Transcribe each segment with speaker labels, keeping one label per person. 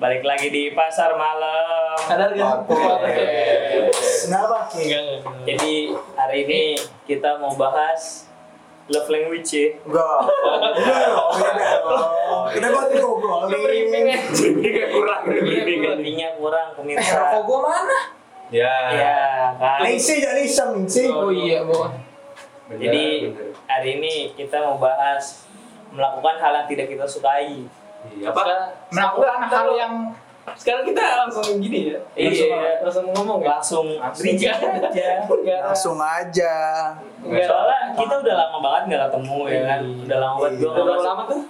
Speaker 1: Balik lagi di pasar malam.
Speaker 2: Sadar gak?
Speaker 3: Kenapa?
Speaker 1: Enggak. Jadi hari ini kita mau bahas love language ya.
Speaker 3: Enggak. Udah dong, beda dong. Kita buat ngobrol nih.
Speaker 1: Briefingnya kurang,
Speaker 2: briefingnya.
Speaker 1: briefingnya Iya, kurang
Speaker 2: Eh, rokok
Speaker 1: pemirsa.
Speaker 2: gua mana?
Speaker 4: Ya.
Speaker 1: Ya, kan.
Speaker 3: Ningsi jadi iseng ningsi.
Speaker 2: Oh iya,
Speaker 5: Nah,
Speaker 2: gua.
Speaker 4: Bener,
Speaker 1: Jadi
Speaker 4: bener.
Speaker 1: hari ini kita mau bahas melakukan hal yang tidak kita sukai.
Speaker 4: Iya, apa?
Speaker 2: Melakukan hal yang
Speaker 5: Sekarang kita langsung gini ya.
Speaker 1: Iya.
Speaker 5: Langsung, langsung ngomong ya.
Speaker 1: Langsung
Speaker 4: Langsung.
Speaker 1: reject aja.
Speaker 5: Enggak.
Speaker 3: Langsung aja.
Speaker 1: Iya,
Speaker 5: Enggak.
Speaker 1: Soalnya kita udah lama banget nggak ketemu ya kan.
Speaker 2: Iya.
Speaker 1: Udah lama banget
Speaker 3: Iya.
Speaker 1: gue
Speaker 5: Udah berapa lama tuh?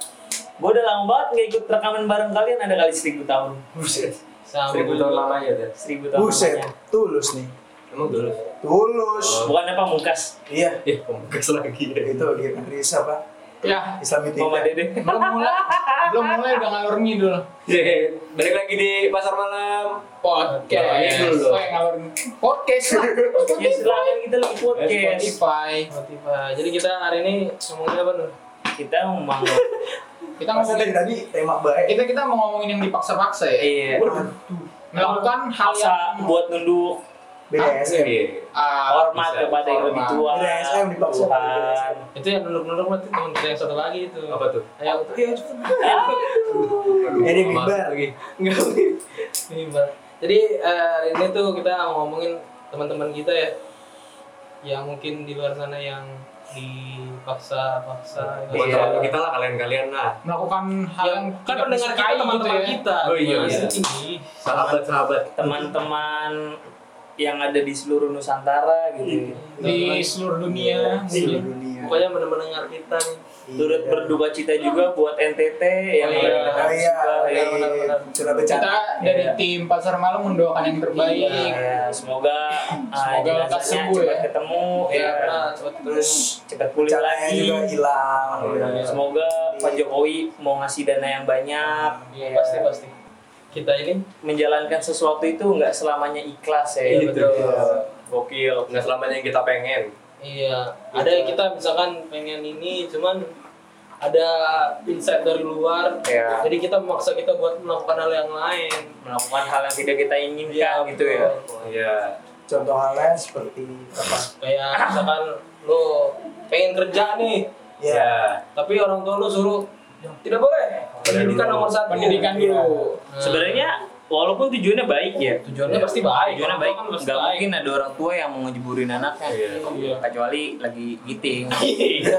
Speaker 1: Gue udah lama banget nggak ikut rekaman bareng kalian ada kali seribu tahun.
Speaker 4: Buset.
Speaker 2: sama
Speaker 4: Seribu tahun ya, lamanya deh.
Speaker 1: Seribu tahun.
Speaker 3: Buset,
Speaker 1: namanya.
Speaker 3: tulus nih.
Speaker 4: Emang dulu.
Speaker 3: Tulus.
Speaker 1: Bukan apa mungkas.
Speaker 3: Iya,
Speaker 4: Ya, gitu. pembekas lagi.
Speaker 3: itu dia kan dari siapa?
Speaker 2: Ya,
Speaker 1: Mama
Speaker 3: Islamitika.
Speaker 1: Dede.
Speaker 2: belum mulai, belum mulai udah ngalur ngidul.
Speaker 4: Ye, Iya, balik lagi di pasar malam.
Speaker 2: Podcast. Oh, yang ngalur podcast lah.
Speaker 1: Ya silakan kita lebih podcast.
Speaker 2: Spotify.
Speaker 5: Spotify. Jadi kita hari ini ngomongin apa Nur?
Speaker 1: Kita memang
Speaker 2: Kita
Speaker 3: Masa
Speaker 2: ngomongin
Speaker 3: dari tadi tema baik.
Speaker 2: kita kita mau ngomongin yang dipaksa-paksa ya.
Speaker 1: iya.
Speaker 2: Melakukan hal
Speaker 1: Paksa
Speaker 2: yang
Speaker 1: buat nunduk
Speaker 3: BDSM.
Speaker 4: Iya.
Speaker 2: Ah,
Speaker 1: hormat
Speaker 4: bisa.
Speaker 1: kepada yang lebih tua.
Speaker 3: BDSM dipaksa.
Speaker 1: Tuhan.
Speaker 5: Itu yang nunduk-nunduk mati teman kita yang satu lagi itu.
Speaker 4: Apa tuh?
Speaker 5: Ayo,
Speaker 2: Iya,
Speaker 5: ayo cepet.
Speaker 4: Aduh,
Speaker 3: Jadi
Speaker 4: masuk
Speaker 3: mimbar.
Speaker 4: lagi.
Speaker 5: Enggak. Mimbar. Jadi eh, hari ini tuh kita mau ngomongin teman-teman kita ya yang mungkin di luar sana yang dipaksa-paksa
Speaker 4: Bukan
Speaker 1: Iya.
Speaker 4: teman kita lah, kalian-kalian lah.
Speaker 2: melakukan hal yang
Speaker 5: yang kan
Speaker 2: tidak
Speaker 5: pendengar kita
Speaker 2: disukai
Speaker 5: teman-teman
Speaker 2: gitu ya.
Speaker 5: kita
Speaker 4: Oh, iya,
Speaker 5: Mas.
Speaker 4: iya.
Speaker 5: Ih,
Speaker 4: Sahabat-sahabat.
Speaker 1: Teman-teman yang ada di seluruh Nusantara gitu.
Speaker 3: Iya.
Speaker 2: di seluruh dunia.
Speaker 3: Seluruh
Speaker 2: mungkin.
Speaker 3: dunia.
Speaker 5: pokoknya mendengar kita nih
Speaker 1: Turut berduka cita juga buat NTT yang
Speaker 5: Oh, iya.
Speaker 1: ada
Speaker 3: Oh
Speaker 1: di
Speaker 3: iya,
Speaker 1: Suka, ya.
Speaker 5: benar-benar.
Speaker 3: sudah
Speaker 2: Kita
Speaker 3: bercanda.
Speaker 2: dari
Speaker 1: Iya.
Speaker 2: tim pasar malam mendoakan yang
Speaker 5: Iya.
Speaker 2: terbaik.
Speaker 1: Ya, semoga uh,
Speaker 2: Semoga lekas
Speaker 1: jenazahnya
Speaker 2: sembuh,
Speaker 1: cepat
Speaker 2: ya.
Speaker 1: ketemu ya.
Speaker 4: Iya.
Speaker 5: ya nah, cepat terus
Speaker 3: Terus
Speaker 1: cepat pulih
Speaker 3: bencananya
Speaker 1: lagi.
Speaker 3: juga hilang.
Speaker 4: Iya.
Speaker 1: Semoga Pak Jokowi mau ngasih dana yang banyak.
Speaker 5: Iya,
Speaker 1: ya.
Speaker 5: pasti pasti kita ini
Speaker 1: Menjalankan sesuatu itu nggak selamanya ikhlas ya.
Speaker 4: Iya,
Speaker 5: betul.
Speaker 3: Iya.
Speaker 1: Gokil.
Speaker 4: Nggak selamanya yang kita pengen.
Speaker 5: iya
Speaker 1: Gitu
Speaker 5: ada yang kita misalkan pengen ini cuman ada insight dari luar
Speaker 1: Iya.
Speaker 5: jadi kita memaksa kita buat melakukan hal yang lain
Speaker 1: Melakukan hal yang tidak kita inginkan gitu ya.
Speaker 5: betul.
Speaker 4: Iya.
Speaker 3: Contoh halnya seperti apa?
Speaker 5: kayak misalkan lo pengen kerja nih
Speaker 3: Ya.
Speaker 4: Iya.
Speaker 5: tapi orang tua lo suruh tidak boleh pendidikan
Speaker 4: dulu.
Speaker 5: nomor satu
Speaker 2: Pendidikan
Speaker 3: Iya.
Speaker 2: dulu.
Speaker 5: Nah,
Speaker 1: Sebenarnya walaupun tujuannya baik ya.
Speaker 5: tujuannya
Speaker 4: Iya.
Speaker 5: pasti baik
Speaker 1: Tujuannya
Speaker 5: Orang
Speaker 1: baik,
Speaker 5: tua kan pasti
Speaker 1: nggak
Speaker 5: baik.
Speaker 1: mungkin ada orang tua yang mau ngejeburin anaknya.
Speaker 4: Iya.
Speaker 2: Iya.
Speaker 1: Kecuali lagi giting.
Speaker 5: Iya,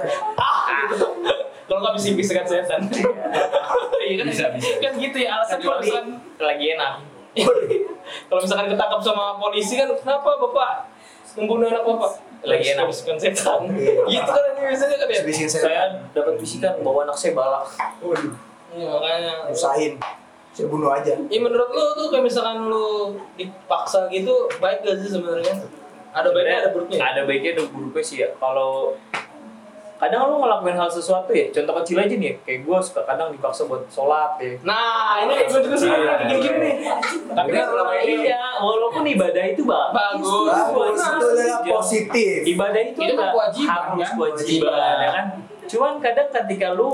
Speaker 5: kalau nggak bisa bisikan setan iya kan
Speaker 4: Bisa, bisa.
Speaker 5: kan gitu ya alasan kalau
Speaker 1: Kecuali
Speaker 5: misalkan
Speaker 1: lagi enak.
Speaker 5: kalau misalkan ketangkap sama polisi kan kenapa bapak membunuh anak bapak
Speaker 1: Lagi enak.
Speaker 5: bisikan setan
Speaker 3: Iya.
Speaker 5: gitu kan ini biasanya kan ya
Speaker 3: Sebisik saya
Speaker 1: Saya Hmm. dapat bisikan bahwa anak saya balak.
Speaker 5: iya makanya
Speaker 3: usahin. Saya bunuh aja.
Speaker 5: ya menurut lu tuh kayak misalkan lu dipaksa gitu baik gak sih sebenarnya ada baiknya ada buruknya ya?
Speaker 1: ada baiknya ada buruknya sih ya kalau kadang lu ngelakuin hal sesuatu ya contoh kecil aja nih ya, kayak gue suka kadang dipaksa buat sholat ya
Speaker 5: nah ini gue juga sih
Speaker 4: Iya.
Speaker 5: gini-gini nih
Speaker 4: Tapi kan selama ini
Speaker 1: iya walaupun ibadah itu bagus,
Speaker 5: Bagus.
Speaker 3: Bagus,
Speaker 1: Bagus.
Speaker 3: itu adalah positif.
Speaker 1: ibadah itu
Speaker 2: Itu kan
Speaker 1: ada
Speaker 2: kewajiban,
Speaker 1: harus
Speaker 2: kan?
Speaker 1: kewajiban ya kan cuman kadang ketika lu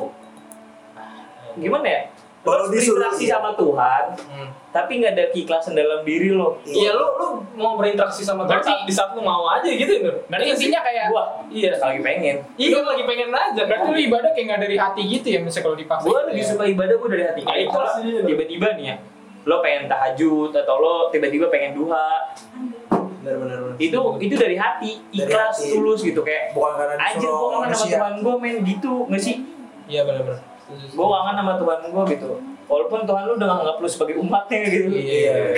Speaker 1: gimana ya lu
Speaker 3: Kalau
Speaker 1: harus
Speaker 3: disuruh,
Speaker 1: berinteraksi
Speaker 3: iya.
Speaker 1: sama Tuhan
Speaker 5: Hmm.
Speaker 1: tapi nggak ada keikhlasan dalam diri lo
Speaker 5: Iya lu lu mau berinteraksi sama Tuhan
Speaker 2: Berarti-
Speaker 5: saat- di saat lu mau aja gitu ya. Nur?
Speaker 2: Berarti
Speaker 5: Iya sih?
Speaker 2: intinya kayak
Speaker 1: gua
Speaker 5: Iya.
Speaker 1: lagi pengen
Speaker 5: Iya lu lagi pengen aja.
Speaker 2: berarti lu ibadah kayak nggak dari hati gitu ya misalnya kalau dipaksa.
Speaker 1: gue
Speaker 2: gitu
Speaker 1: lebih
Speaker 2: ya.
Speaker 1: suka ibadah gue dari hati
Speaker 5: Nah,
Speaker 1: Iya. kayak
Speaker 5: itu
Speaker 1: kalau
Speaker 5: sih.
Speaker 1: tiba-tiba nih ya lo pengen tahajud atau lo tiba-tiba pengen duha
Speaker 3: Benar benar benar.
Speaker 1: itu itu dari hati
Speaker 3: Dari
Speaker 1: ikhlas
Speaker 3: hati.
Speaker 1: tulus gitu kayak
Speaker 3: Bukan karena
Speaker 1: anjir gue
Speaker 3: disuruh
Speaker 1: kangen sama
Speaker 3: manusia.
Speaker 1: Tuhan gue main gitu nggak sih
Speaker 5: Iya benar-benar.
Speaker 1: gue kangen sama Tuhan gue gitu walaupun Tuhan lu udah nganggap lu sebagai umatnya gitu
Speaker 3: Iya.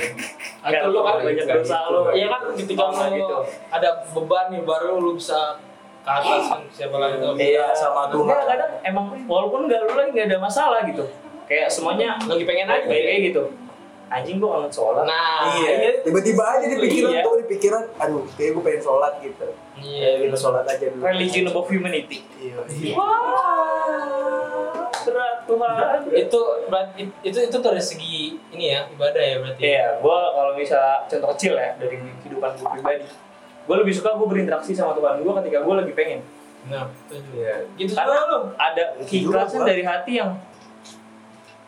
Speaker 1: Karena
Speaker 5: Atau lu kan
Speaker 1: banyak
Speaker 4: juga
Speaker 1: dosa
Speaker 4: gitu.
Speaker 1: lo
Speaker 5: Iya kan ketika
Speaker 1: Sama
Speaker 5: lu
Speaker 1: gitu.
Speaker 5: ada beban nih baru lu bisa ke atas kan siapa lagi tuh.
Speaker 3: Iya, sama Tuhan.
Speaker 1: Maksudnya kadang emang walaupun gak lu lagi gak ada masalah gitu kayak semuanya
Speaker 5: Lagi pengen aja.
Speaker 1: baik kayak gitu anjing gue kangen sholat
Speaker 5: Nah,
Speaker 3: Iya. Tiba-tiba aja di pikiran
Speaker 1: Iya.
Speaker 3: tuh di pikiran, aduh, kayak gue pengen sholat gitu.
Speaker 5: Iya.
Speaker 3: Kayak kita sholat aja dulu.
Speaker 1: religion above humanity
Speaker 3: Iya.
Speaker 1: Wah, berat Tuhan.
Speaker 5: Itu berarti itu itu tuh dari segi ini ya ibadah ya berarti.
Speaker 1: Iya, gue kalau misalnya contoh kecil ya dari kehidupan gue pribadi, gue lebih suka gue berinteraksi sama Tuhan gue ketika gue lagi pengen.
Speaker 5: Nah, itu juga.
Speaker 4: Iya.
Speaker 5: Gitu
Speaker 1: Karena
Speaker 5: juga lu.
Speaker 1: ada keikhlasan dari hati yang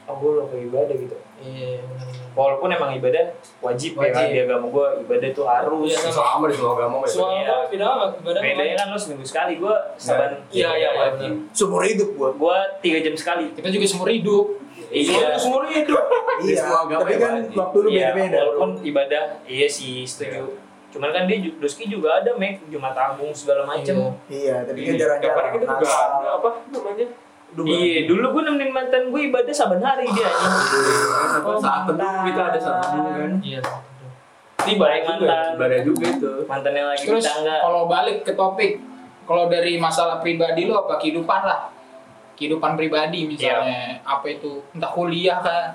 Speaker 1: oh gue lupa ibadah gitu
Speaker 5: Iya.
Speaker 1: walaupun emang ibadah wajib, ya kan
Speaker 5: Wajib.
Speaker 1: di agama gue ibadah tuh harus
Speaker 5: Iya, sama.
Speaker 4: sama di semua agama ya.
Speaker 5: Soal apa beda apa? Beda apa?
Speaker 1: bedanya kan lo seminggu sekali gue saban
Speaker 5: Iya, iya, wajib.
Speaker 3: Seumur hidup gua.
Speaker 1: gue tiga jam sekali
Speaker 2: Kita juga seumur hidup.
Speaker 1: iya
Speaker 5: Seumur hidup.
Speaker 4: Di
Speaker 3: Iya.
Speaker 4: semua agama
Speaker 3: Tapi
Speaker 4: ya,
Speaker 3: kan
Speaker 4: Pak.
Speaker 3: waktu lu
Speaker 1: Iya,
Speaker 3: beda-beda.
Speaker 1: walaupun ibadah iya sih setuju cuman kan dia ju- Doski juga ada Mac Jumat Agung segala macem
Speaker 3: Iya, tapi kan
Speaker 4: Iya,
Speaker 3: jarang-jarang.
Speaker 4: kemarin kita juga
Speaker 3: Nasar.
Speaker 4: ada apa namanya?
Speaker 3: Dulu.
Speaker 1: iya dulu gue nemenin mantan gue ibadah saban hari dia
Speaker 4: Apa,
Speaker 3: kan.
Speaker 4: saat teduh kita ada saat teduh kan. Iya,
Speaker 5: Iya.
Speaker 1: tiba
Speaker 3: Iya.
Speaker 1: baik mantan
Speaker 4: Ibadah juga itu.
Speaker 1: mantan yang lagi
Speaker 2: Terus
Speaker 1: kita enggak
Speaker 2: kalau balik ke topik, kalau dari masalah pribadi lo apa kehidupan lah? Kehidupan pribadi misalnya
Speaker 5: Iya.
Speaker 2: apa itu entah kuliah kan?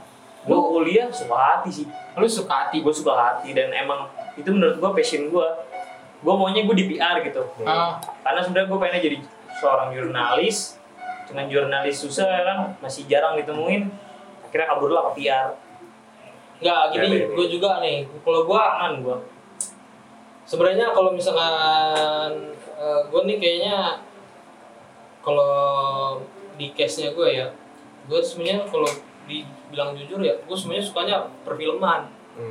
Speaker 1: gue kuliah suka hati sih
Speaker 2: Lo suka hati
Speaker 1: gue suka hati dan emang itu menurut gue passion gue gue maunya gue di PR gitu
Speaker 4: Iya.
Speaker 2: Ah,
Speaker 1: karena sebenarnya gue pengen jadi seorang jurnalis cuman jurnalis susah ya kan masih jarang ditemuin akhirnya kabur lah ke PR
Speaker 5: Enggak,
Speaker 4: Iya,
Speaker 5: gini,
Speaker 4: iya, iya.
Speaker 5: gue juga nih. Kalau gue
Speaker 1: aman gue
Speaker 5: sebenarnya kalau misalkan gue nih kayaknya kalau di case-nya gue ya, gue sebenarnya kalau dibilang jujur ya, gue sebenarnya sukanya perfilman.
Speaker 4: Hmm.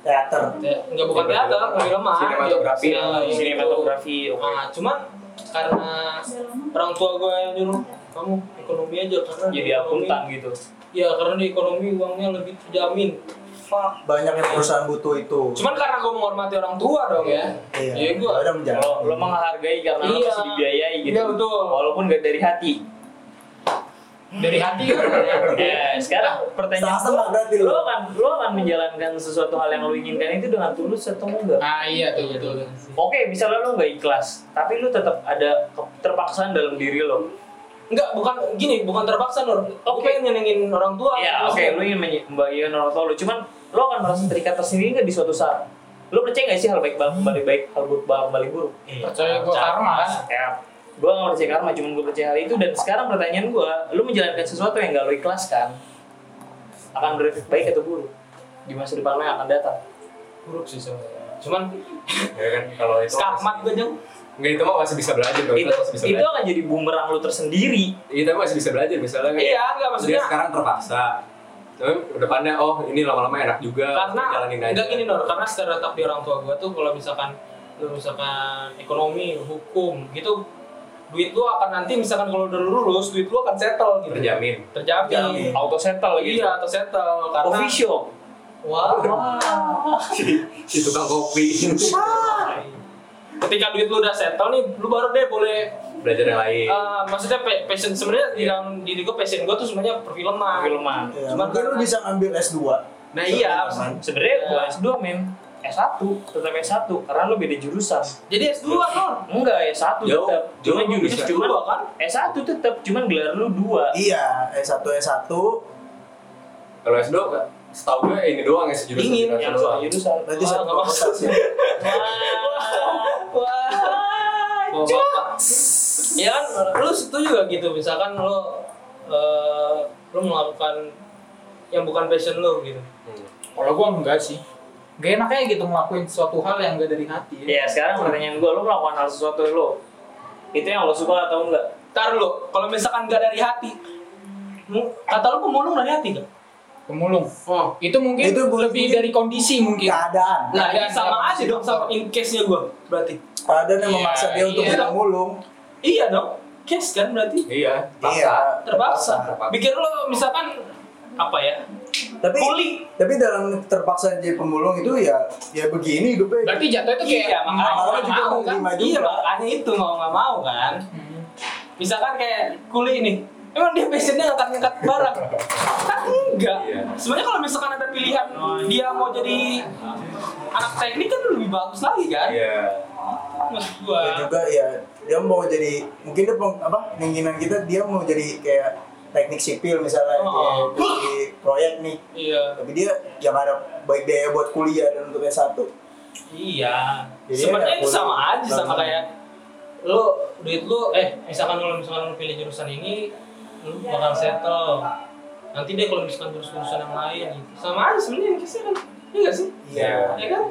Speaker 3: Teater.
Speaker 5: Ya, Enggak bukan
Speaker 4: Perfilman.
Speaker 5: teater, perfilman.
Speaker 4: Iya, Sinematografi.
Speaker 5: Ya,
Speaker 1: di
Speaker 5: gitu.
Speaker 1: sinematografi oke
Speaker 5: Nah, cuman karena orang tua gue yang nyuruh kamu ekonomi aja karena di
Speaker 1: jadi
Speaker 5: ekonomi-
Speaker 1: akuntan gitu
Speaker 5: Iya, karena di ekonomi uangnya lebih terjamin. Fuck.
Speaker 3: Banyak yang perusahaan butuh itu.
Speaker 5: Cuman karena gue menghormati orang tua dong ya.
Speaker 3: Iya.
Speaker 5: Iya, gua-
Speaker 3: Udah menjaga.
Speaker 1: lo lo menghargai karena lo
Speaker 5: Iya.
Speaker 1: masih dibiayai gitu
Speaker 5: Iya, betul.
Speaker 1: walaupun gak dari hati
Speaker 2: dari hati kan?
Speaker 1: ya sekarang pertanyaan
Speaker 3: Sama berarti
Speaker 1: lo
Speaker 3: lo.
Speaker 1: akan lo akan menjalankan sesuatu hal yang lo inginkan itu dengan tulus atau enggak
Speaker 2: ah iya tuh betul.
Speaker 1: oke misalnya lo nggak ikhlas tapi lo tetap ada ke- terpaksaan dalam diri lo
Speaker 5: Enggak, bukan gini, bukan terpaksa Nur. Oke, pengen nyenengin orang tua.
Speaker 1: Iya, oke, lu ingin menye- membagikan orang tua lu, cuman lu akan merasa terikat tersendiri nggak di suatu saat? Lu percaya nggak sih hal baik bak- kembali baik, hal buruk bak- kembali buruk?
Speaker 2: Iya. Percaya gua karma kan?
Speaker 1: Ya, gue nggak percaya karma, cuman gue percaya hal itu. Dan sekarang pertanyaan gue, lu menjalankan sesuatu yang nggak lu ikhlaskan, akan berefek baik atau buruk di masa depan lo yang akan datang.
Speaker 5: buruk sih sebenarnya. Cuman
Speaker 4: Ya kan kalau itu
Speaker 5: skakmat gue jeng.
Speaker 4: Enggak itu mah masih bisa belajar kalau
Speaker 1: Itu,
Speaker 4: kita masih bisa
Speaker 1: itu
Speaker 4: belajar.
Speaker 1: akan jadi bumerang lu tersendiri.
Speaker 4: Iya, tapi masih bisa belajar misalnya kayak
Speaker 5: Iya, enggak
Speaker 4: dia
Speaker 5: maksudnya
Speaker 4: sekarang terpaksa. Tapi depannya oh ini lama-lama enak juga.
Speaker 5: karena
Speaker 4: jalanin aja.
Speaker 5: enggak gini Nur, karena stereotip di orang tua gue tuh kalau misalkan lu misalkan ekonomi, hukum gitu duit lu akan nanti misalkan kalau udah lulus duit lu akan settle gitu.
Speaker 4: Terjamin.
Speaker 5: Terjamin.
Speaker 3: Terjamin.
Speaker 1: Auto settle gitu.
Speaker 5: Iya, atau settle karena
Speaker 1: Coffee shop.
Speaker 5: Wah.
Speaker 4: Si tukang kopi
Speaker 5: Ketika duit lu udah settle nih, lu baru deh boleh
Speaker 4: belajar yang lain.
Speaker 5: Eh, maksudnya pe- passion sebenarnya di dalam diri gue passion gue tuh sebenarnya perfilman.
Speaker 1: Perfilman.
Speaker 3: Ya,
Speaker 5: Cuman
Speaker 3: mungkin lu
Speaker 5: karena-
Speaker 3: bisa ngambil S2.
Speaker 5: Nah iya.
Speaker 3: Perfilman.
Speaker 1: Sebenarnya
Speaker 5: Iya.
Speaker 1: bukan S2 men, S1 tetap S1 karena lu beda jurusan.
Speaker 5: Jadi S2 non.
Speaker 1: Enggak, S1
Speaker 4: Jauh,
Speaker 1: tetap.
Speaker 4: jauh
Speaker 1: Cuman
Speaker 4: lebih
Speaker 1: jurus
Speaker 4: bisa.
Speaker 1: cuman
Speaker 5: Dua, kan?
Speaker 1: S1 tetap, cuman gelar lu 2.
Speaker 3: Iya, S1 S1
Speaker 4: Kalau S2 enggak. setahu gue ini doang ya sejurusan.
Speaker 5: Dingin,
Speaker 4: sejurusan
Speaker 1: Yang
Speaker 4: doang.
Speaker 1: soal jurusan.
Speaker 3: berarti
Speaker 5: Wah,
Speaker 3: satu
Speaker 5: nggak masuk.
Speaker 3: fakultas ya.
Speaker 5: Wah, bapak. Ya kan, lu setuju gak gitu? Misalkan lu eh, lu melakukan yang bukan passion lu gitu.
Speaker 4: Hmm.
Speaker 2: Kalau gua enggak sih. Gak enaknya gitu ngelakuin suatu hal yang gak dari hati
Speaker 5: Iya.
Speaker 2: ya.
Speaker 1: Ya, sekarang pertanyaan gua, lu melakukan hal sesuatu lu. Itu yang lo suka atau enggak?
Speaker 5: Ntar lu, kalau misalkan gak dari hati, mu- kata lu pemulung dari hati gak?
Speaker 2: Pemulung.
Speaker 5: Oh.
Speaker 2: Itu mungkin
Speaker 3: Itu mungkin-
Speaker 2: lebih dari kondisi mungkin.
Speaker 3: Keadaan.
Speaker 5: Nah,
Speaker 2: Nggak ada, nggak
Speaker 5: sama
Speaker 2: ada.
Speaker 5: aja dong sama in case-nya gue berarti.
Speaker 3: Keadaan yang
Speaker 2: Iya,
Speaker 3: memaksa dia untuk
Speaker 2: iya.
Speaker 3: tidak mulung.
Speaker 5: Iya dong, case kan berarti.
Speaker 4: Iya, paksa.
Speaker 5: terpaksa.
Speaker 4: Terpaksa.
Speaker 5: Bikin lo misalkan apa ya?
Speaker 3: Tapi
Speaker 5: Bully.
Speaker 3: tapi dalam terpaksa jadi pemulung itu ya ya begini hidupnya.
Speaker 2: Berarti jatuh itu kayak
Speaker 5: Iya,
Speaker 2: mau
Speaker 5: makanya.
Speaker 3: Malah
Speaker 2: nggak
Speaker 3: juga
Speaker 2: ah, mau,
Speaker 3: mau
Speaker 2: kan?
Speaker 3: terima
Speaker 5: Iya
Speaker 3: juga.
Speaker 5: makanya itu mau nggak mau kan.
Speaker 2: Hmm.
Speaker 5: Misalkan kayak kuli ini, emang dia passionnya ngangkat-ngangkat barang? Kan enggak.
Speaker 4: Iya.
Speaker 5: Sebenarnya kalau misalkan ada pilihan dia mau jadi anak teknik kan lebih bagus lagi kan?
Speaker 4: Iya.
Speaker 5: Maksud gua.
Speaker 3: Dia juga ya dia mau jadi mungkin dia peng- apa keinginan kita dia mau jadi kayak teknik sipil misalnya
Speaker 5: Oh.
Speaker 3: di, di proyek nih
Speaker 5: Iya.
Speaker 3: tapi dia yang ada baik biaya buat kuliah dan untuk S1
Speaker 5: Iya.
Speaker 3: Jadi
Speaker 5: Sebenarnya
Speaker 3: ya,
Speaker 5: itu
Speaker 3: boleh.
Speaker 5: sama aja sama
Speaker 3: Boleh.
Speaker 5: kayak lo duit lo eh misalkan lo misalkan lo pilih jurusan ini lo bakal settle nanti deh kalau misalkan terus jurusan yang lain gitu sama aja sebenarnya yang kisah kan iya nggak sih
Speaker 3: iya
Speaker 5: ya kan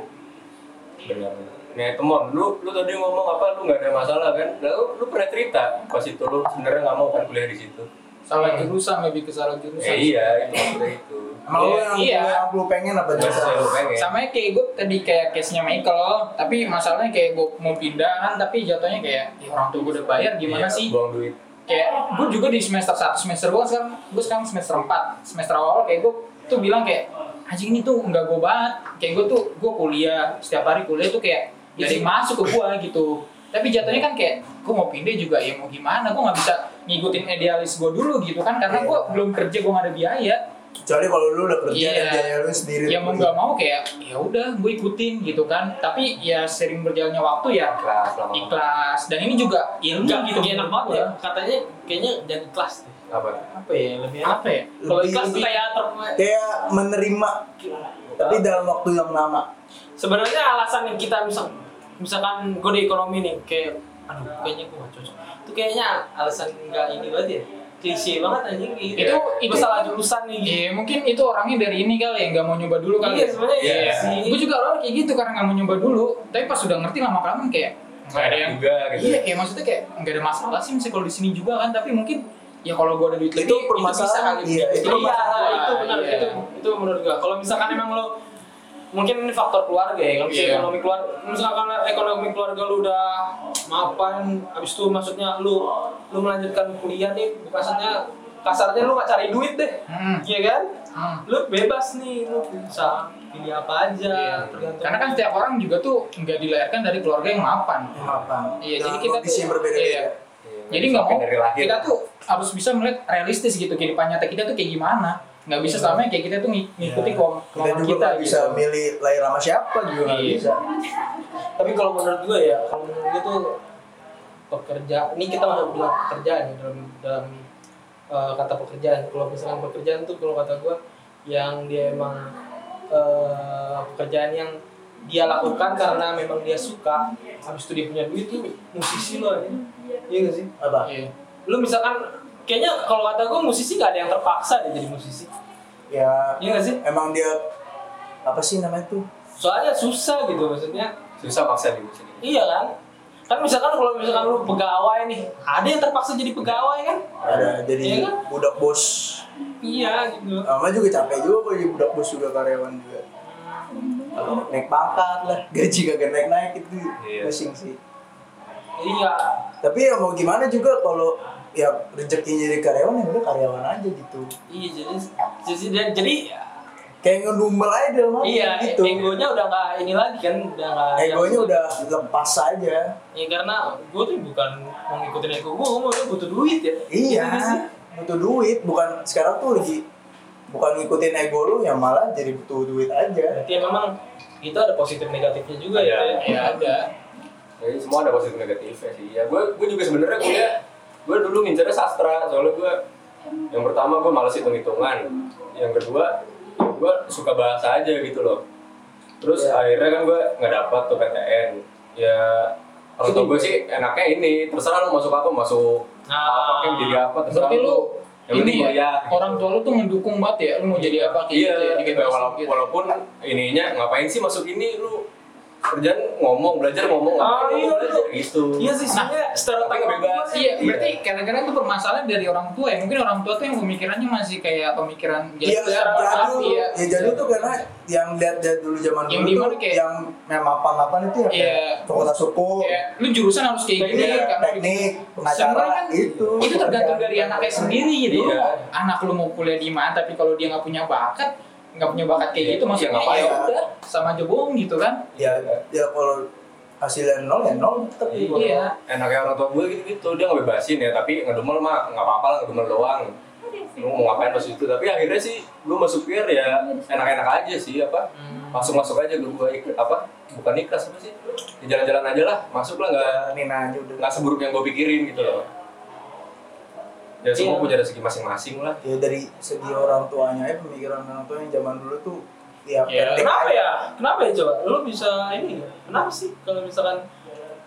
Speaker 4: Benar. Nah, teman, lu lu tadi ngomong apa? Lu nggak ada masalah kan? Lalu lu pernah cerita pas itu lu sebenarnya nggak mau kan kuliah di situ.
Speaker 2: salah jurusan lebih ke salah jurusan
Speaker 4: Ya iya, itu maksudnya itu.
Speaker 3: Emang lu
Speaker 2: Iya,
Speaker 3: yang
Speaker 2: iya.
Speaker 3: yang lu pengen apa
Speaker 4: Gak
Speaker 3: jurusan?
Speaker 4: selalu pengen.
Speaker 2: sama kayak gue tadi kayak case nya Michael tapi masalahnya kayak gue mau pindah kan tapi jatuhnya kayak ya orang tua gue udah bayar gimana
Speaker 4: Iya,
Speaker 2: sih
Speaker 4: Buang duit.
Speaker 2: kayak gue juga di semester 1 semester gue sekarang gue sekarang semester 4 semester awal kayak gue tuh bilang kayak anjing ini tuh nggak gue banget kayak gue tuh gue kuliah setiap hari kuliah tuh kayak
Speaker 1: Iya
Speaker 2: jadi
Speaker 1: sih.
Speaker 2: masuk ke gue gitu tapi jatuhnya kan kayak gue mau pindah juga ya mau gimana gue nggak bisa ngikutin idealis gue dulu gitu kan
Speaker 4: Iya.
Speaker 2: karena gue belum kerja gue nggak ada biaya
Speaker 3: Kecuali kalau lu udah kerja
Speaker 2: Iya.
Speaker 3: dan biaya lu sendiri.
Speaker 2: ya mau nggak mau kayak ya udah gue ikutin gitu kan tapi ya sering berjalannya waktu ya
Speaker 4: Kelas lama.
Speaker 2: ikhlas dan ini juga
Speaker 5: ilmu
Speaker 2: Nggak,
Speaker 5: gitu
Speaker 2: nggak
Speaker 5: enak
Speaker 2: enak
Speaker 5: banget ya
Speaker 2: banget.
Speaker 5: katanya kayaknya jadi kelas deh
Speaker 4: Apa?
Speaker 5: apa ya lebih enak
Speaker 2: apa ya
Speaker 5: kalau
Speaker 3: Lebih-
Speaker 5: kelas tuh
Speaker 3: lebih-
Speaker 5: kayak ter-
Speaker 3: Kayak menerima tapi dalam waktu yang lama.
Speaker 5: sebenarnya alasan yang kita misal misalkan gue di ekonomi nih kayak aduh kayaknya gue gak cocok itu kayaknya alasan nggak ini banget ya klise banget anjing gitu
Speaker 2: Itu- itu-
Speaker 5: salah jurusan nih gitu.
Speaker 2: Iya mungkin itu orangnya dari ini kali ya nggak mau nyoba dulu kali.
Speaker 5: Iya, sebenarnya
Speaker 4: iya
Speaker 5: sih.
Speaker 2: Gue juga awalnya kayak gitu karena nggak mau nyoba dulu. Tapi pas sudah ngerti lama kelamaan kayak nggak ada
Speaker 4: Enak
Speaker 2: yang.
Speaker 4: juga gitu.
Speaker 2: Iya kayak maksudnya kayak nggak ada masalah sih misalnya kalau di sini juga kan. Tapi mungkin ya kalau gue ada duit
Speaker 3: Itu
Speaker 2: lebih
Speaker 3: permasalahan, iya, itu
Speaker 2: Itu
Speaker 5: Iya,
Speaker 2: permasalahan.
Speaker 5: itu benar
Speaker 2: Iya.
Speaker 5: itu itu menurut gua. Kalau misalkan emang lo mungkin ini faktor keluarga ya, kalau misalnya
Speaker 2: Iya.
Speaker 5: ekonomi keluarga, misalkan ekonomi keluarga lu udah mapan, habis itu maksudnya lu lu melanjutkan kuliah nih, maksudnya kasarnya lu nggak cari duit deh,
Speaker 2: Hmm,
Speaker 5: iya kan?
Speaker 2: hmm.
Speaker 5: Lu bebas nih, lu bisa pilih apa
Speaker 2: Iya.
Speaker 5: aja, tergantung.
Speaker 2: Karena kan setiap orang juga tuh nggak dilahirkan dari keluarga yang mapan.
Speaker 3: Yang apa?
Speaker 2: Iya,
Speaker 3: Dalam
Speaker 2: jadi kita
Speaker 3: kondisi
Speaker 2: tuh-
Speaker 3: yang berbeda-beda.
Speaker 2: iya.
Speaker 4: Iya,
Speaker 2: Jadi nggak mau
Speaker 4: dari lahir.
Speaker 2: kita tuh harus bisa melihat realistis gitu kehidupan nyata kita tuh kayak gimana. Nggak
Speaker 4: Iya.
Speaker 2: bisa selamanya kayak kita tuh ng- ngikuti kemauan
Speaker 3: Iya. Kita
Speaker 2: kita,
Speaker 3: juga nggak bisa
Speaker 2: gitu.
Speaker 3: milih lahir sama siapa juga nggak
Speaker 2: Iya.
Speaker 3: bisa.
Speaker 5: Tapi kalau menurut gua ya, kalau menurut gua tuh pekerja, ini kita masuk bilang pekerjaan ya, dalam dalam eh, kata pekerjaan. Kalau misalkan pekerjaan tuh kalau kata gua yang dia emang eh, pekerjaan yang dia lakukan karena memang dia suka, habis itu dia punya duit tuh musisi loh ya. Iya nggak sih?
Speaker 3: Apa?
Speaker 2: Iya.
Speaker 5: Lu misalkan kayaknya kalau kata gua musisi nggak ada yang terpaksa deh jadi musisi.
Speaker 3: Ya
Speaker 5: Iya nggak sih?
Speaker 3: emang dia apa sih namanya tuh?
Speaker 5: Soalnya susah gitu maksudnya.
Speaker 4: susah paksa di sini.
Speaker 5: Iya kan? Kan misalkan kalau misalkan lu pegawai nih, ada yang terpaksa jadi pegawai kan?
Speaker 3: Ada jadi
Speaker 5: Iya kan?
Speaker 3: budak bos.
Speaker 5: Iya gitu.
Speaker 3: Lama juga capek juga kalau jadi budak bos juga karyawan juga. Kalau naik pangkat lah, gaji kagak naik naik itu
Speaker 4: Iya.
Speaker 3: pusing sih.
Speaker 5: Iya.
Speaker 3: Tapi ya mau gimana juga kalau ya rezekinya jadi karyawan ya udah karyawan aja gitu.
Speaker 5: Iya jadi jadi dan- jadi
Speaker 3: Kayak ngedumbel aja dalam hati
Speaker 5: iya
Speaker 3: gitu.
Speaker 5: egonya udah nggak ini lagi kan udah nggak
Speaker 3: Egonya udah lepas aja.
Speaker 5: ya karena gue tuh bukan mau ngikutin ego gue gue tuh butuh duit ya
Speaker 3: Iya,
Speaker 5: Gitu sih.
Speaker 3: butuh duit. Bukan sekarang tuh lagi bukan ngikutin ego lu yang malah jadi butuh duit aja.
Speaker 5: berarti ya memang itu ada positif negatifnya juga
Speaker 4: Ada.
Speaker 5: ya
Speaker 2: Iya ada.
Speaker 4: Jadi semua ada positif negatifnya sih. Ya gue gue juga sebenarnya kuliah gue dulu ngincernya sastra soalnya gue yang pertama gue males hitung hitungan, yang kedua gue suka bahasa aja gitu loh. Terus
Speaker 2: Iya.
Speaker 4: akhirnya kan gue nggak dapat tuh PTN. Ya orang tua gue sih enaknya ini terserah lu masuk apa masuk apa
Speaker 5: Ah.
Speaker 4: kayak jadi apa terserah
Speaker 2: Nah. Berarti lu
Speaker 4: Yang
Speaker 2: ini
Speaker 4: penting
Speaker 2: ya,
Speaker 4: kuliah.
Speaker 2: orang tua lu tuh mendukung banget ya, lu mau jadi apa
Speaker 4: Iya,
Speaker 2: kayak gitu ya,
Speaker 4: gitu,
Speaker 2: dibebasin
Speaker 4: walaupun,
Speaker 2: gitu.
Speaker 4: walaupun ininya ngapain sih masuk ini lu kerjaan ngomong belajar ngomong
Speaker 5: Ah,
Speaker 4: ngapain
Speaker 5: iya,
Speaker 4: lu belajar
Speaker 5: lu.
Speaker 4: gitu.
Speaker 5: iya sih
Speaker 3: Nah,
Speaker 5: sebenarnya
Speaker 4: tapi
Speaker 5: stereotip
Speaker 4: nggak bebas.
Speaker 5: gue sih.
Speaker 2: Iya, berarti kadang-kadang itu permasalahan dari orang tua ya. Mungkin orang tua tuh yang pemikirannya masih kayak pemikiran
Speaker 3: Iya,
Speaker 2: secara
Speaker 3: jadul.
Speaker 2: iya.
Speaker 3: Ya jadul tuh karena yang lihat dari dulu zaman
Speaker 2: Yang
Speaker 3: dulu
Speaker 2: dimana
Speaker 3: tuh
Speaker 2: kayak-
Speaker 3: yang memang apa-apaan itu ya
Speaker 2: Iya.
Speaker 3: kayak fakultas suku,
Speaker 2: Kayak, lu jurusan harus kayak gini
Speaker 3: iya,
Speaker 2: karena
Speaker 3: teknik,
Speaker 2: Sebenarnya
Speaker 3: pengacara
Speaker 2: kan
Speaker 3: itu.
Speaker 2: itu tergantung dari anaknya sendiri gitu.
Speaker 4: Iya.
Speaker 2: Anak lu mau kuliah di mana tapi kalau dia nggak punya bakat, nggak punya bakat kayak
Speaker 4: Iya,
Speaker 2: gitu maksudnya
Speaker 4: iya, ngapain?
Speaker 2: ya udah sama aja bohong gitu kan.
Speaker 3: Ya, ya kalau hasilnya nol ya nol tapi kalau-
Speaker 2: Iya.
Speaker 4: enaknya orang tua gue gitu gitu dia ngebebasin ya tapi ngedumel mah nggak apa-apa lah ngedumel doang lu mau ngapain pas itu tapi akhirnya sih gue masuk PR ya enak-enak aja sih apa langsung masuk aja gue ikut apa bukan ikhlas apa sih Ya jalan-jalan aja lah masuk lah nggak
Speaker 3: Ini nanya Eh, udah.
Speaker 4: nggak seburuk yang gue pikirin gitu loh ya semua
Speaker 5: Iya.
Speaker 4: punya rezeki masing-masing lah
Speaker 3: Ya dari segi orang tuanya ya pemikiran orang tua yang zaman dulu tuh ya
Speaker 2: Iya.
Speaker 3: pendek
Speaker 5: kenapa
Speaker 3: aja.
Speaker 5: ya kenapa ya coba lu bisa ini nggak? kenapa sih kalau misalkan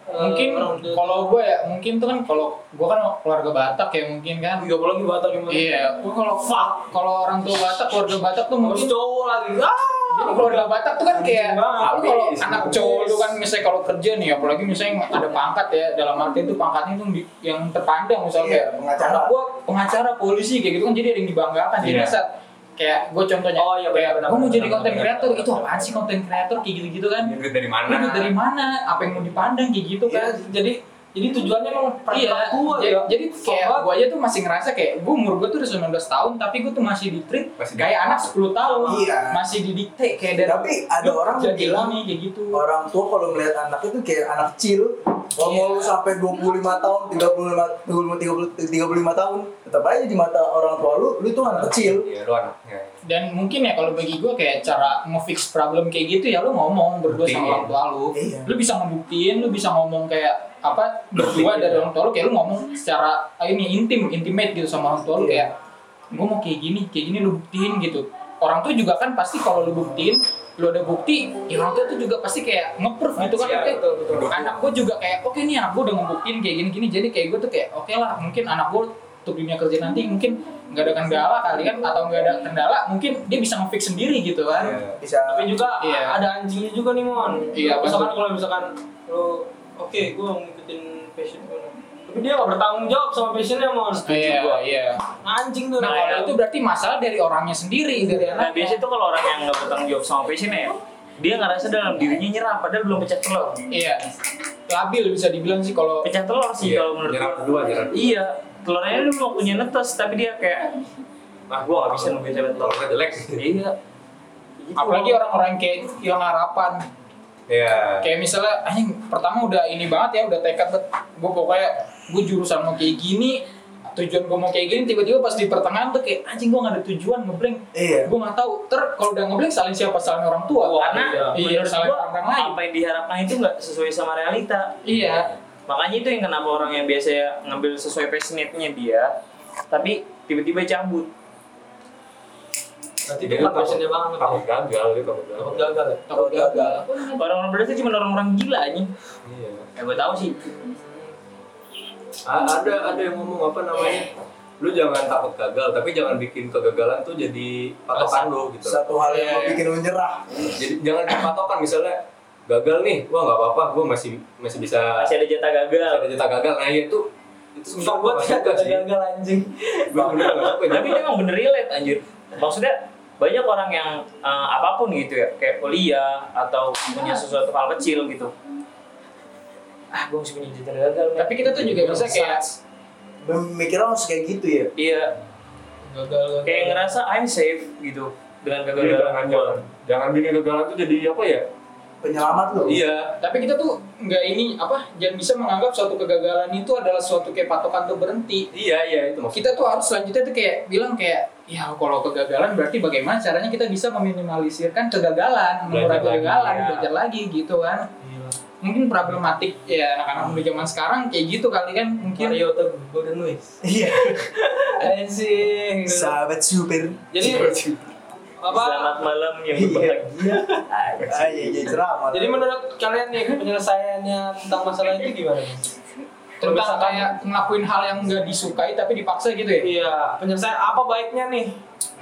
Speaker 5: eh,
Speaker 2: mungkin
Speaker 5: orang udah-
Speaker 2: kalau gue ya mungkin tuh kan kalau gue kan keluarga Batak ya mungkin kan
Speaker 5: tiga bulan di batal gimana
Speaker 2: Iya, gua kalau
Speaker 5: Fuck.
Speaker 2: kalau orang tua Batak, keluarga Batak tuh
Speaker 5: Harus
Speaker 2: mungkin
Speaker 5: cowok lagi. Ah.
Speaker 2: Jadi keluarga Batak tuh kan kayak
Speaker 4: banget.
Speaker 2: lu kalau
Speaker 1: Iya,
Speaker 4: Habis.
Speaker 2: anak cowok lu kan misalnya kalau kerja nih apalagi misalnya ada pangkat ya dalam arti itu pangkatnya itu di- yang terpandang misalnya
Speaker 3: Iya,
Speaker 2: kayak
Speaker 3: pengacara.
Speaker 2: anak gua pengacara polisi kayak gitu kan jadi ada yang dibanggakan jadi
Speaker 4: Iya.
Speaker 2: saat kayak gue contohnya
Speaker 1: Oh, iya,
Speaker 2: kayak
Speaker 1: benar,
Speaker 2: gua mau
Speaker 1: benar,
Speaker 2: jadi
Speaker 1: benar,
Speaker 2: konten
Speaker 1: benar,
Speaker 2: kreator
Speaker 1: benar.
Speaker 2: itu apaan sih konten kreator kayak gitu gitu kan
Speaker 4: Ini duit dari
Speaker 2: lu
Speaker 4: mana?
Speaker 2: duit dari mana apa yang mau dipandang kayak gitu kan
Speaker 5: Iya, jadi jadi tujuannya emang
Speaker 2: Iya,
Speaker 5: perangkat gua
Speaker 2: jadi,
Speaker 5: ya.
Speaker 2: jadi kayak
Speaker 5: Sobat.
Speaker 2: gue aja tuh masih ngerasa kayak gue umur gue tuh udah 19 tahun tapi gue tuh masih di treat
Speaker 4: Masih
Speaker 2: kayak anak 10 tahun
Speaker 3: Iya.
Speaker 2: masih didikte kayak dari
Speaker 3: Tapi ada
Speaker 2: "Lu
Speaker 3: orang yang
Speaker 2: jadi
Speaker 3: bilang Oh,
Speaker 2: ini kayak gitu
Speaker 3: orang tua kalau melihat anak itu kayak anak kecil kalau
Speaker 2: Iya.
Speaker 3: mau lu sampai 25 tahun 35 30, 35 tahun tetap aja di mata orang tua lu lu itu anak kecil
Speaker 4: Iya, lu anaknya.
Speaker 2: dan mungkin ya kalau bagi gue kayak cara ngefix problem kayak gitu ya lu ngomong berdua sama
Speaker 4: Buktiin.
Speaker 2: orang tua lu
Speaker 3: Iya.
Speaker 2: lu bisa ngebuktiin lu bisa ngomong kayak apa
Speaker 4: Buktiin,
Speaker 2: berdua dari
Speaker 4: iya.
Speaker 2: orang tua lu kayak lu ngomong secara ah, ini intim intimate gitu sama orang tua lu kayak
Speaker 3: Iya.
Speaker 2: gue mau kayak gini kayak gini lu buktiin gitu orang tua juga kan pasti kalau lu buktiin lu ada bukti ya orang tua tuh juga pasti kayak ngeproof gitu kan
Speaker 5: Iya,
Speaker 2: Oke,
Speaker 5: betul, betul.
Speaker 2: anak gue juga kayak oke nih anak gue udah ngebuktiin kayak gini gini jadi kayak gue tuh kayak oke lah mungkin anak gue untuk dunia kerja nanti mungkin nggak ada kendala kali kan atau nggak ada kendala mungkin dia bisa ngefix sendiri gitu kan
Speaker 4: Iya.
Speaker 3: bisa
Speaker 5: tapi juga
Speaker 2: Iya.
Speaker 5: ada anjingnya juga nih mon
Speaker 2: Iya, betul.
Speaker 5: misalkan kalau misalkan lu oke gua mau ngikutin passion gua nih." tapi dia gak bertanggung jawab sama passionnya mon
Speaker 2: iya iya
Speaker 5: anjing tuh
Speaker 2: nah
Speaker 5: nah,
Speaker 2: kalau itu berarti masalah dari orangnya sendiri dari
Speaker 1: Nah,
Speaker 2: anaknya
Speaker 1: biasanya tuh kalau orang yang nggak bertanggung jawab sama passionnya ya, dia ngerasa dalam dirinya nyerah padahal belum pecah telur.
Speaker 2: iya labil bisa dibilang sih kalau
Speaker 1: Pecah telur sih
Speaker 4: Iya,
Speaker 1: kalau menurut
Speaker 4: nyerah
Speaker 1: gua.
Speaker 4: kedua, nyerah kedua.
Speaker 1: Iya, telurnya dulu waktunya netes tapi dia kayak ah gua nggak bisa nungguin sampai telur.
Speaker 4: Kalau jelek.
Speaker 1: Iya. Gitu.
Speaker 2: apalagi orang-orang kayak hilang harapan
Speaker 4: Iya.
Speaker 2: kayak misalnya anjing pertama udah ini banget ya udah tekad gue pokoknya gue jurusan mau kayak gini tujuan gue mau kayak gini tiba-tiba pas di pertengahan tuh kayak anjing gue gak ada tujuan ngeblank
Speaker 3: Iya.
Speaker 2: gue gak tahu ter kalau udah ngeblank salin siapa salin orang tua
Speaker 1: karena
Speaker 2: iya
Speaker 1: menurut
Speaker 2: salin
Speaker 1: gua
Speaker 2: orang lain
Speaker 1: apa yang diharapkan itu nggak sesuai sama realita.
Speaker 2: iya
Speaker 1: Makanya itu yang kenapa orang yang biasanya ngambil sesuai passionate-nya dia, tapi tiba-tiba cabut.
Speaker 5: berarti
Speaker 4: Dia
Speaker 5: dia bukan
Speaker 4: takut-
Speaker 5: passionnya banget ya.
Speaker 4: Takut gagal, dia takut
Speaker 5: takut
Speaker 4: gagal.
Speaker 5: gagal ya
Speaker 2: takut gagal
Speaker 1: Orang-orang berarti cuma orang-orang gila aja.
Speaker 4: Iya.
Speaker 1: Ya gua tahu sih.
Speaker 4: A- Ah, ada ada yang ngomong apa namanya? Lu jangan takut gagal, tapi jangan bikin kegagalan tuh jadi patokan lu gitu.
Speaker 3: satu hal yang
Speaker 2: Iya, iya.
Speaker 3: bikin lu nyerah
Speaker 4: Jadi jangan dipatokan misalnya gagal nih, wah nggak apa-apa, gua masih masih bisa
Speaker 1: Masih ada jatah gagal.
Speaker 4: ada jatah gagal. Nah, iya itu itu susah
Speaker 5: susah buat
Speaker 4: banget sih.
Speaker 5: dia
Speaker 4: Oh, iya.
Speaker 5: gagal anjing
Speaker 4: Gua bener nggak apa-apa.
Speaker 1: tapi dia emang bener relate anjir maksudnya banyak orang yang eh, apapun gitu ya kayak kuliah atau punya sesuatu hal kecil gitu ah gue mesti punya cita gagal men.
Speaker 2: tapi kita tuh juga bisa kayak
Speaker 3: mikirnya harus kayak gitu ya
Speaker 1: iya
Speaker 5: gagal gagal
Speaker 1: kayak ngerasa I'm safe gitu dengan
Speaker 4: Jadi
Speaker 1: kegagalan
Speaker 4: jangan jangan
Speaker 1: gue
Speaker 4: jangan bikin kegagalan tuh jadi apa ya?
Speaker 3: penyelamat lu
Speaker 4: Iya.
Speaker 2: tapi kita tuh nggak ini apa jangan bisa menganggap suatu kegagalan itu adalah suatu kayak patokan untuk berhenti
Speaker 4: Iya, iya itu maksudnya.
Speaker 2: kita tuh harus selanjutnya tuh kayak bilang kayak ya kalau kegagalan berarti bagaimana caranya kita bisa meminimalisirkan kegagalan mengurangi
Speaker 4: Belajar lagi,
Speaker 2: kegagalan
Speaker 1: ya.
Speaker 2: belajar lagi gitu kan
Speaker 5: Gila.
Speaker 2: mungkin problematik ya anak-anak muda zaman sekarang kayak gitu kali kan mungkin
Speaker 5: Mario tuh Golden Luis
Speaker 3: iya
Speaker 5: anjing
Speaker 3: sahabat super
Speaker 5: jadi
Speaker 2: Iya.
Speaker 5: apa
Speaker 1: selamat malam ya, yang
Speaker 3: Iya.
Speaker 1: berbahagia
Speaker 3: ah iya iya ceramah
Speaker 5: jadi menurut kalian nih penyelesaiannya tentang masalah itu gimana
Speaker 2: tentang
Speaker 5: Misalkan-
Speaker 2: kayak ngelakuin hal yang nggak disukai tapi dipaksa gitu ya
Speaker 5: Iya, penyelesaian apa baiknya nih?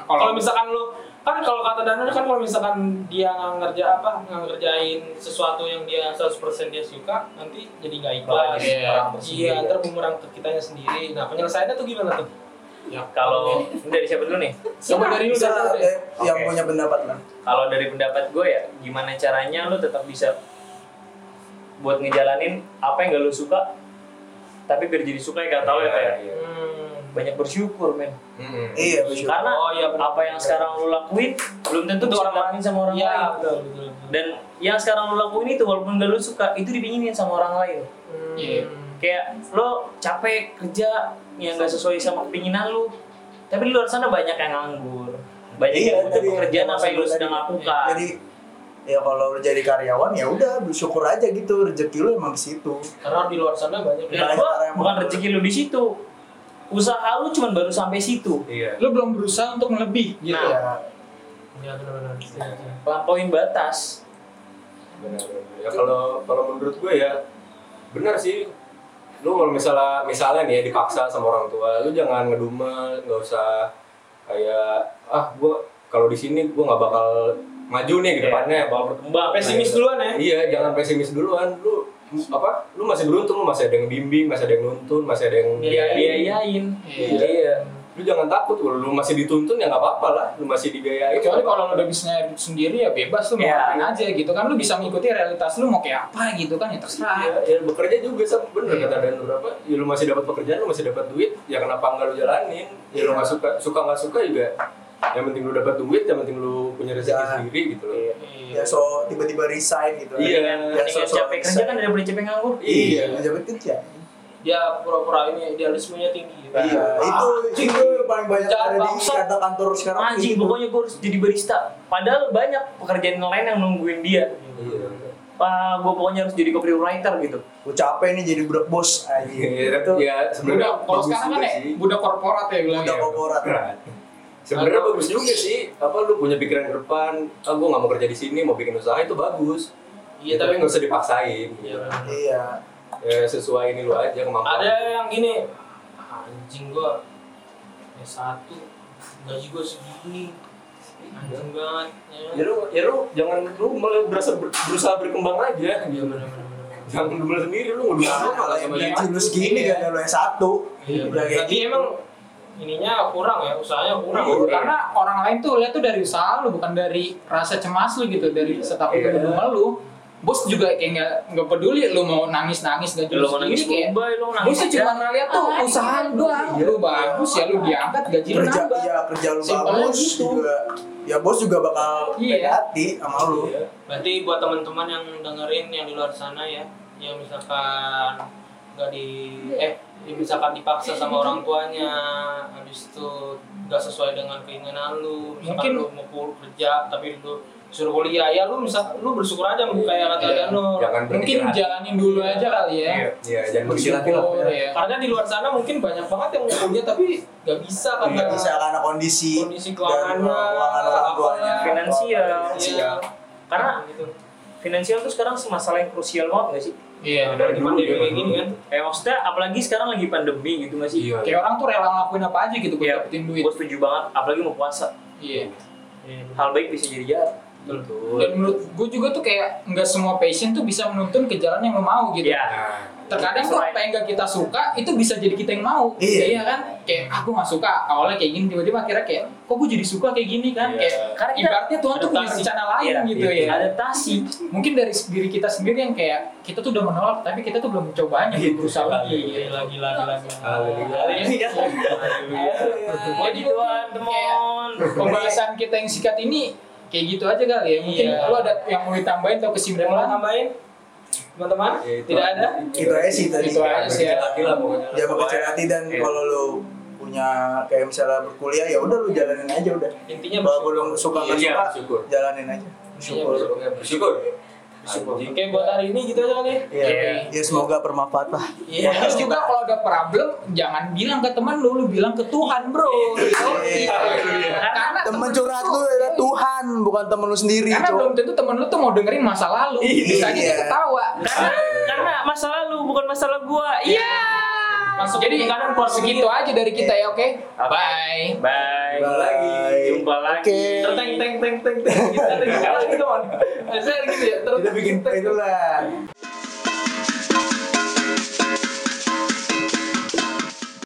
Speaker 5: Kalau misalkan lu kan kalau kata Danu kan kalau misalkan dia nggak ngerja apa nggak ngerjain sesuatu yang dia 100% dia suka nanti jadi nggak
Speaker 1: Malah
Speaker 5: ikhlas.
Speaker 1: jadi
Speaker 2: Iya.
Speaker 1: orang
Speaker 5: Iya,
Speaker 1: tersendiri.
Speaker 5: ntar bumerang ke kitanya sendiri. Nah, penyelesaiannya tuh gimana tuh?
Speaker 1: kalau dari siapa dulu nih
Speaker 2: coba dari lu
Speaker 3: bisa
Speaker 2: Danu,
Speaker 3: lah,
Speaker 2: deh.
Speaker 3: eh, yang
Speaker 1: Oke.
Speaker 3: punya pendapat lah
Speaker 1: kalau dari pendapat gue ya gimana caranya lu tetap bisa buat ngejalanin apa yang gak lu suka tapi biar jadi suka ya gak tau ya kayak
Speaker 4: Iya.
Speaker 5: Hmm.
Speaker 1: banyak bersyukur men
Speaker 4: Mm-mm.
Speaker 3: iya bersyukur
Speaker 1: karena
Speaker 5: Oh, iya, benar.
Speaker 1: apa yang sekarang lu lakuin belum tentu
Speaker 5: Itu
Speaker 1: bisa
Speaker 5: orang
Speaker 1: dilakuin sama orang
Speaker 5: Iya,
Speaker 1: lain
Speaker 5: betul betul. betul.
Speaker 1: dan yang sekarang lu lakuin itu walaupun gak lu suka itu dipinginin sama orang lain
Speaker 5: Hmm.
Speaker 2: Iya.
Speaker 1: kayak lo capek kerja yang gak sesuai sama keinginan lu tapi di luar sana banyak yang nganggur banyak yang punya
Speaker 3: Iya, tadi
Speaker 1: pekerjaan apa yang lu
Speaker 3: maksud
Speaker 1: sedang
Speaker 3: tadi.
Speaker 1: lakukan
Speaker 3: Jadi ya kalau lu jadi karyawan ya udah bersyukur aja gitu rezeki lu emang di situ.
Speaker 5: Karena di luar sana banyak.
Speaker 1: Menurut gua bukan rezeki lu di situ. Usaha lu cuman baru sampai situ.
Speaker 4: Iya.
Speaker 2: lu belum berusaha untuk melebih gitu
Speaker 1: Nah.
Speaker 3: Ya,
Speaker 5: Iya, benar-benar. Setuju.
Speaker 1: Lampauin batas.
Speaker 4: Benar, benar. ya kalau kalau menurut gue ya benar sih lu kalau misalnya misalnya nih ya dipaksa sama orang tua lu jangan ngedumel nggak usah kayak ah gue kalau di sini gue nggak bakal maju nih ke depannya
Speaker 1: bakal berkembang.
Speaker 5: Pesimis duluan ya.
Speaker 4: Iya, jangan pesimis duluan. Lu apa? Lu masih beruntung, lu masih ada yang bimbing, masih ada yang nuntun, masih ada yang
Speaker 5: Biayain.
Speaker 1: Biayain.
Speaker 2: Iya.
Speaker 1: Iya.
Speaker 4: Lu jangan takut, lu lu masih dituntun ya nggak apa-apa lah, lu masih dibiayain.
Speaker 2: Nah, kecuali kalau lo udah bisnya sendiri ya bebas lu mau
Speaker 1: Iya.
Speaker 2: ngapain aja gitu kan lu bisa mengikuti realitas lu mau kayak apa gitu kan ya terserah
Speaker 4: Ya, ya bekerja juga sama bener
Speaker 2: Iya.
Speaker 4: kata dan berapa ya lu masih dapat pekerjaan lu masih dapat duit ya kenapa nggak lu jalanin ya lu nggak suka suka nggak suka juga yang penting lu dapat duit yang penting lu punya rezeki
Speaker 3: Jangan.
Speaker 4: sendiri gitu loh
Speaker 3: ya so tiba-tiba resign gitu
Speaker 4: Iya.
Speaker 1: Mendingan
Speaker 3: so- so-
Speaker 1: capek kerja kan daripada capek nganggur.
Speaker 4: iya
Speaker 3: Pejabat kerja
Speaker 5: Dia pura-pura ini idealismenya tinggi. gitu.
Speaker 3: iya itu itu yang paling banyak
Speaker 5: Jangan
Speaker 3: ada di
Speaker 5: bangsat.
Speaker 3: kata kantor sekarang gitu.
Speaker 1: Anjing,
Speaker 3: itu.
Speaker 1: pokoknya gue harus jadi barista. Padahal banyak pekerjaan yang lain yang nungguin dia.
Speaker 4: Iya.
Speaker 1: Pak, gue pokoknya harus jadi copywriter gitu.
Speaker 3: gue capek nih jadi budak bos
Speaker 4: Iya,
Speaker 3: anjing
Speaker 4: ya,
Speaker 3: itu
Speaker 4: sebenarnya
Speaker 2: budak kalau
Speaker 4: bagus
Speaker 2: sekarang kan
Speaker 4: juga
Speaker 2: ya
Speaker 4: sih.
Speaker 2: budak korporat ya bilang
Speaker 3: budak
Speaker 2: ya.
Speaker 3: korporat
Speaker 4: Berat. Sebenarnya bagus juga sih. Apa lu punya pikiran ke depan, ah gua nggak mau kerja di sini, mau bikin usaha itu bagus.
Speaker 5: Iya,
Speaker 4: tapi
Speaker 5: tapi-
Speaker 4: nggak usah dipaksain.
Speaker 5: Iya.
Speaker 3: iya
Speaker 4: Ya, sesuai ini lu aja kemampuan.
Speaker 5: Ada yang gini. Anjing gua S1 gaji gua segini. Anjing banget.
Speaker 4: Ya
Speaker 5: Ya.
Speaker 4: lu, ya lu jangan lu malah berasa ber- berusaha berkembang aja.
Speaker 5: Iya benar-benar.
Speaker 4: Jangan lu malah sendiri lu nggak bisa apa lah sama dia.
Speaker 3: gaji Ya, lu segini
Speaker 5: Iya.
Speaker 3: gak ada lu yang satu
Speaker 5: Iya,
Speaker 3: Udah kayak
Speaker 5: berarti
Speaker 3: gitu.
Speaker 5: emang ininya kurang ya, usahanya kurang.
Speaker 4: Iya.
Speaker 2: karena orang lain tuh lihat tuh dari usaha lu bukan dari rasa cemas lu gitu dari rasa takut
Speaker 4: Iya.
Speaker 2: dan rumah lu bos juga kayak nggak nggak peduli lu mau nangis nangis gak
Speaker 1: Ya, Lu mau nangis
Speaker 2: kayak
Speaker 1: bombay, lu nangis
Speaker 2: bosnya cuma ngeliat tuh
Speaker 6: Ah,
Speaker 2: usaha lu doang
Speaker 3: Iya.
Speaker 2: lu bagus ya lu diangkat gaji lu
Speaker 3: kerja
Speaker 4: iya.
Speaker 2: nambah
Speaker 3: ya kerja lu
Speaker 2: Simpelnya
Speaker 3: bagus
Speaker 2: gitu.
Speaker 3: juga ya bos juga bakal
Speaker 2: Iya.
Speaker 3: baik hati sama lu
Speaker 4: Iya.
Speaker 5: Berarti buat teman-teman yang dengerin yang di luar sana ya, yang misalkan nggak di eh misalkan dipaksa sama orang tuanya, habis itu nggak sesuai dengan keinginan lu, misalkan
Speaker 2: Mungkin-
Speaker 5: lu mau pul- kerja tapi lu suruh kuliah ya lu misal lu bersyukur aja kayak kata
Speaker 2: Iya.
Speaker 5: Danur.
Speaker 4: Jangan
Speaker 2: mungkin
Speaker 4: berkecil hati.
Speaker 2: jalanin dulu aja kali ya
Speaker 1: Iya.
Speaker 4: Iya, jangan berkecil hati lah.
Speaker 2: Syukur,
Speaker 4: ya.
Speaker 2: ya.
Speaker 5: Karena di luar sana mungkin banyak banget yang mau kuliah tapi nggak bisa
Speaker 2: kan,
Speaker 5: karena
Speaker 3: nggak Iya,
Speaker 4: Iya.
Speaker 3: bisa karena kondisi
Speaker 5: Iya. Kondisi
Speaker 3: dan
Speaker 5: keuangannya,
Speaker 3: keuangan orang
Speaker 5: apalah,
Speaker 3: tuanya
Speaker 1: finansial.
Speaker 5: Iya.
Speaker 1: Karena
Speaker 5: gitu.
Speaker 1: finansial tuh sekarang masalah yang krusial banget gak sih?
Speaker 2: iya benar.
Speaker 5: Dari
Speaker 4: Dulu,
Speaker 5: pandemi
Speaker 4: zaman
Speaker 5: kayak gini
Speaker 4: dulu.
Speaker 5: kan.
Speaker 1: Eh maksudnya apalagi sekarang lagi pandemi gitu gak sih?
Speaker 4: Iya.
Speaker 2: kayak orang tuh rela ngelakuin apa aja gitu buat
Speaker 1: Iya,
Speaker 2: dapetin duit
Speaker 1: gue setuju banget. Apalagi mau puasa.
Speaker 2: iya
Speaker 1: Hal baik bisa jadi jahat.
Speaker 4: Betul.
Speaker 2: dan menurut gue juga tuh kayak nggak semua passion tuh bisa menuntun ke jalan yang lo mau gitu
Speaker 1: Iya.
Speaker 4: Nah,
Speaker 2: terkadang tuh apa yang gak kita suka itu bisa jadi kita yang mau
Speaker 3: Iya.
Speaker 2: kan kayak aku nggak suka awalnya kayak gini tiba-tiba akhirnya kayak kok gue jadi suka kayak gini kan
Speaker 4: Iya.
Speaker 2: kayak
Speaker 1: Karena kita
Speaker 2: ibaratnya Tuhan tuh punya
Speaker 1: adaptasi.
Speaker 2: rencana lain
Speaker 1: Iya,
Speaker 2: gitu
Speaker 4: iya.
Speaker 2: ya
Speaker 1: Adaptasi.
Speaker 2: mungkin dari diri kita sendiri yang kayak kita tuh udah menolak tapi kita tuh belum mencobanya belum berusaha lagi gitu.
Speaker 5: Iya, lagi lagi lagi.
Speaker 4: Haleluya.
Speaker 5: Haleluya.
Speaker 1: Puji Tuhan, teman.
Speaker 2: pembahasan kita yang sikat ini kayak gitu aja kali ya mungkin
Speaker 5: Iya.
Speaker 2: lo ada yang mau ditambahin atau
Speaker 5: Ada yang mau
Speaker 2: kesimpulan
Speaker 5: tambahin? Teman-teman?
Speaker 4: ya itu
Speaker 5: Tidak
Speaker 4: aja.
Speaker 5: ada?
Speaker 3: itu aja sih tadi
Speaker 2: Itu aja sih ya.
Speaker 4: Berkecil hati lah pokoknya.
Speaker 3: ya kecil hati dan
Speaker 1: Iya.
Speaker 3: kalau lu punya kayak misalnya berkuliah ya udah lu jalanin aja udah
Speaker 5: Iya. Intinya
Speaker 3: kalau lu suka nggak
Speaker 4: Iya,
Speaker 3: suka
Speaker 4: bersyukur.
Speaker 3: jalanin aja bersyukur
Speaker 4: Bersyukur.
Speaker 3: Bersyukur.
Speaker 4: Anjing.
Speaker 5: Oke, buat hari ini gitu aja kali. ya?
Speaker 3: Iya.
Speaker 1: Iya.
Speaker 3: ya semoga bermanfaat lah
Speaker 5: Iya.
Speaker 2: Terus juga kalau ada problem jangan bilang ke teman lu, lu bilang ke Tuhan bro.
Speaker 3: Iya.
Speaker 2: Karena
Speaker 3: temen curhat lu adalah Tuhan bukan temen lu sendiri
Speaker 2: Karena
Speaker 3: cowok
Speaker 2: belum tentu temen lu tuh mau dengerin masa lalu. Bisa aja dia
Speaker 3: Iya.
Speaker 2: ketawa.
Speaker 1: Karena karena masalah lu bukan masalah gua. Iya.
Speaker 5: Masuk
Speaker 2: Jadi
Speaker 5: ke
Speaker 2: kadang
Speaker 5: kanan, keluar
Speaker 2: segitu aja dari kita ya, oke? Bye.
Speaker 1: Bye.
Speaker 3: Bye.
Speaker 1: Jumpa lagi.
Speaker 3: Oke.
Speaker 5: Terteng teng teng teng teng. Kita lagi lagi kawan. Saya gitu ya.
Speaker 3: kita bikin
Speaker 5: terteng, teng, teng.
Speaker 3: itulah